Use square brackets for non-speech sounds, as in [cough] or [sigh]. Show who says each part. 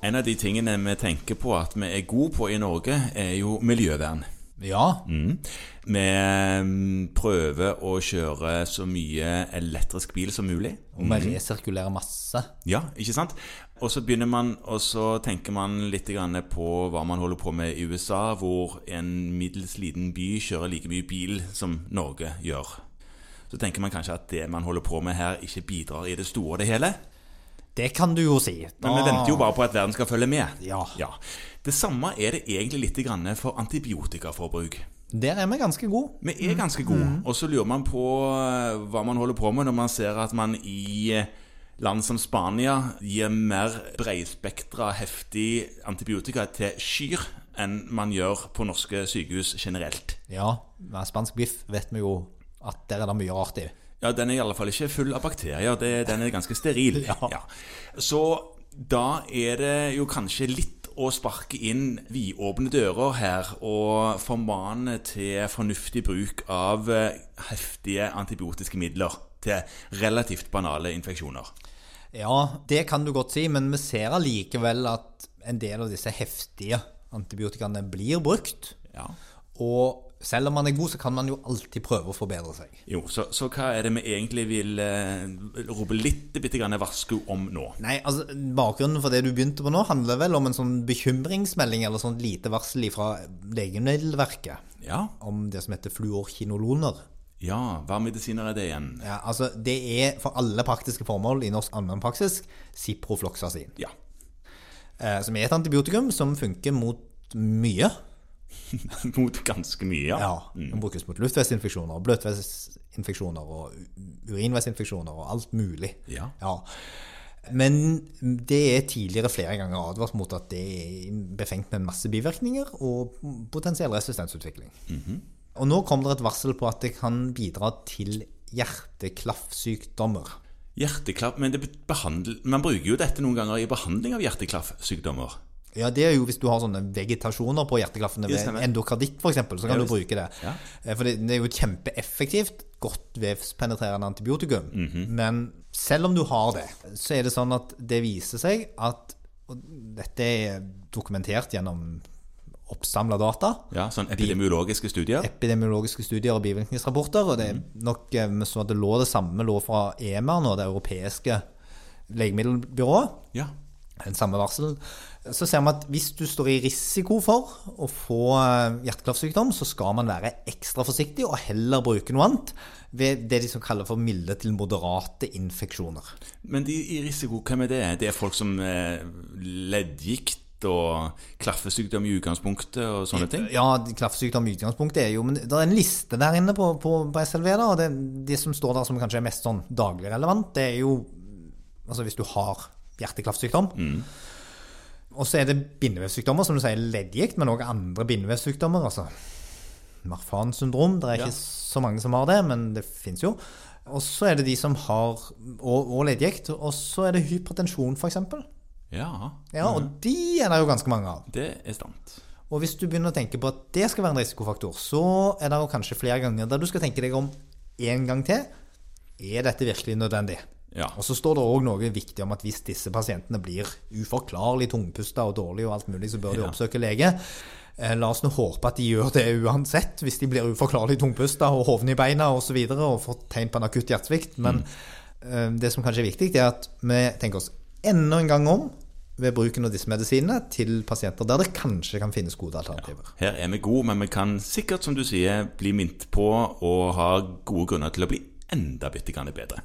Speaker 1: en av de tingene vi tenker på at vi er gode på i Norge, er jo miljøvern.
Speaker 2: Ja.
Speaker 1: Mm. Vi mm, prøver å kjøre så mye elektrisk bil som mulig.
Speaker 2: Og vi
Speaker 1: Mhm.
Speaker 2: resirkulerer masse.
Speaker 1: Ja, ikke sant? Og så begynner man, og så tenker man litt grann på hva man holder på med i USA, hvor en middels liten by kjører like mye bil som Norge gjør. Så tenker man kanskje at det man holder på med her, ikke bidrar i det store og det hele.
Speaker 2: Det kan du jo si.
Speaker 1: Men vi venter jo bare på at verden skal følge med.
Speaker 2: Ah. Ja.
Speaker 1: Det samme er det egentlig litt grann for antibiotikaforbruk.
Speaker 2: Der er vi ganske gode.
Speaker 1: Vi er ganske gode, og så lurer man på eh, hva man holder på med når man ser at man i eh, land som Spania gir mer breispektra, heftig antibiotika til kyr enn man gjør på norske sykehus generelt.
Speaker 2: Ja, men spansk biff vet vi jo at der er det mye rart i.
Speaker 1: Ja, den er i alle fall ikke full av bakterier. Det, den er ganske [laughs] steril.
Speaker 2: Ja.
Speaker 1: Så da er det jo kanskje litt å sparke inn vidåpne dører her og formane til fornuftig bruk av eh, heftige antibiotiske midler til relativt banale infeksjoner.
Speaker 2: Ja, det kan du godt si, men vi ser allikevel at en del av disse heftige antibiotikaene blir brukt.
Speaker 1: Ja.
Speaker 2: Og selv om man er god, så kan man jo alltid prøve å forbedre seg.
Speaker 1: Jo, så, så hva er det vi egentlig vil eh, rope litt, bitte grann varsko om nå?
Speaker 2: Nei, altså, Bakgrunnen for det du begynte på nå, handler vel om en sånn bekymringsmelding eller sånn lite varsel fra Legemiddelverket
Speaker 1: Ja,
Speaker 2: om det som heter fluorkinoloner.
Speaker 1: ja hva medisiner er det igjen?
Speaker 2: Ja, altså, Det er for alle praktiske formål i norsk allmennpraksis ciprofloksasin.
Speaker 1: Ja. [laughs]
Speaker 2: Eh, som er et antibiotikum som funker mot mye.
Speaker 1: Mot ganske mye, ja.
Speaker 2: Ja, Den brukes mot luftveisinfeksjoner, bløtveisinfeksjoner og u- urinveisinfeksjoner og alt mulig.
Speaker 1: Ja.
Speaker 2: Men det er tidligere flere ganger advart mot at det er befengt med masse bivirkninger og potensiell resistensutvikling. Og nå kom det et varsel på at det kan bidra til hjerteklaffsykdommer.
Speaker 1: Hjerteklaff, men det be- behandl- man bruker jo dette noen ganger i behandling av hjerteklaffsykdommer.
Speaker 2: Ja, det er jo hvis du har sånne vegetasjoner på hjerteklaffene
Speaker 1: Det
Speaker 2: ved
Speaker 1: stemmer.
Speaker 2: endokarditt f.eks., så kan du
Speaker 1: visst.
Speaker 2: bruke det.
Speaker 1: Ja.
Speaker 2: Eh, For det, det er jo kjempeeffektivt, godt vevspenetrerende antibiotikum.
Speaker 1: Mhm.
Speaker 2: Men selv om du har det, så er det sånn at det viser seg at og Dette er dokumentert gjennom oppsamla data.
Speaker 1: Ja, sånn epidemiologiske studier.
Speaker 2: Epidemiologiske studier og bivirkningsrapporter. Og det
Speaker 1: Mhm.
Speaker 2: er nok eh, så at det lå det samme lå fra EMA, nå, det europeiske legemiddelbyrået
Speaker 1: Ja.
Speaker 2: den samme varselen, så ser vi at hvis du står i risiko for å få eh, hjerteklaffsykdom, så skal man være ekstra forsiktig og heller bruke noe annet ved det de som kaller for milde til moderate infeksjoner.
Speaker 1: Men de i risiko, hvem er det? Det er folk som eh, leddgikt og klaffesykdom i utgangspunktet og sånne ting?
Speaker 2: Ja, klaffsykdom i utgangspunktet er jo Men det er en liste der inne på, på, på SLV, da, og det, det som står der som kanskje er mest sånn daglig relevant, det er jo Altså hvis du har hjerteklaffsykdom.
Speaker 1: Mm.
Speaker 2: Og så er det bindevevsykdommer, som du sier leddgikt, men også andre bindevevsykdommer. Altså Marfan-syndrom. Det er ikke
Speaker 1: Ja.
Speaker 2: så mange som har det, men det fins jo. Og så er det de som har og, og leddgikt. Og så er det hypertensjon, f.eks.
Speaker 1: Ja,
Speaker 2: Ja, og de er det jo ganske mange av.
Speaker 1: det er sant.
Speaker 2: Og hvis du begynner å tenke på at det skal være en risikofaktor, så er det jo kanskje flere ganger der du skal tenke deg om en gang til. Er dette virkelig nødvendig?
Speaker 1: Ja.
Speaker 2: Og så står det òg noe viktig om at hvis disse pasientene blir uforklarlig tungpusta og dårlige og alt mulig, så bør de
Speaker 1: Ja.
Speaker 2: oppsøke lege. Eh, La oss nå håpe at de gjør det uansett, hvis de blir uforklarlig tungpusta og hovne i beina osv. Og, så videre, og får tegn på en akutt hjertesvikt. Men
Speaker 1: Mm.
Speaker 2: eh, det som kanskje er viktig, det er at vi tenker oss enda en gang om ved bruken av disse medisinene til pasienter der det kanskje kan finnes gode alternativer.
Speaker 1: Her er vi gode, men vi kan sikkert, som du sier, bli minnet på og ha gode grunner til å bli enda bitte grann bedre.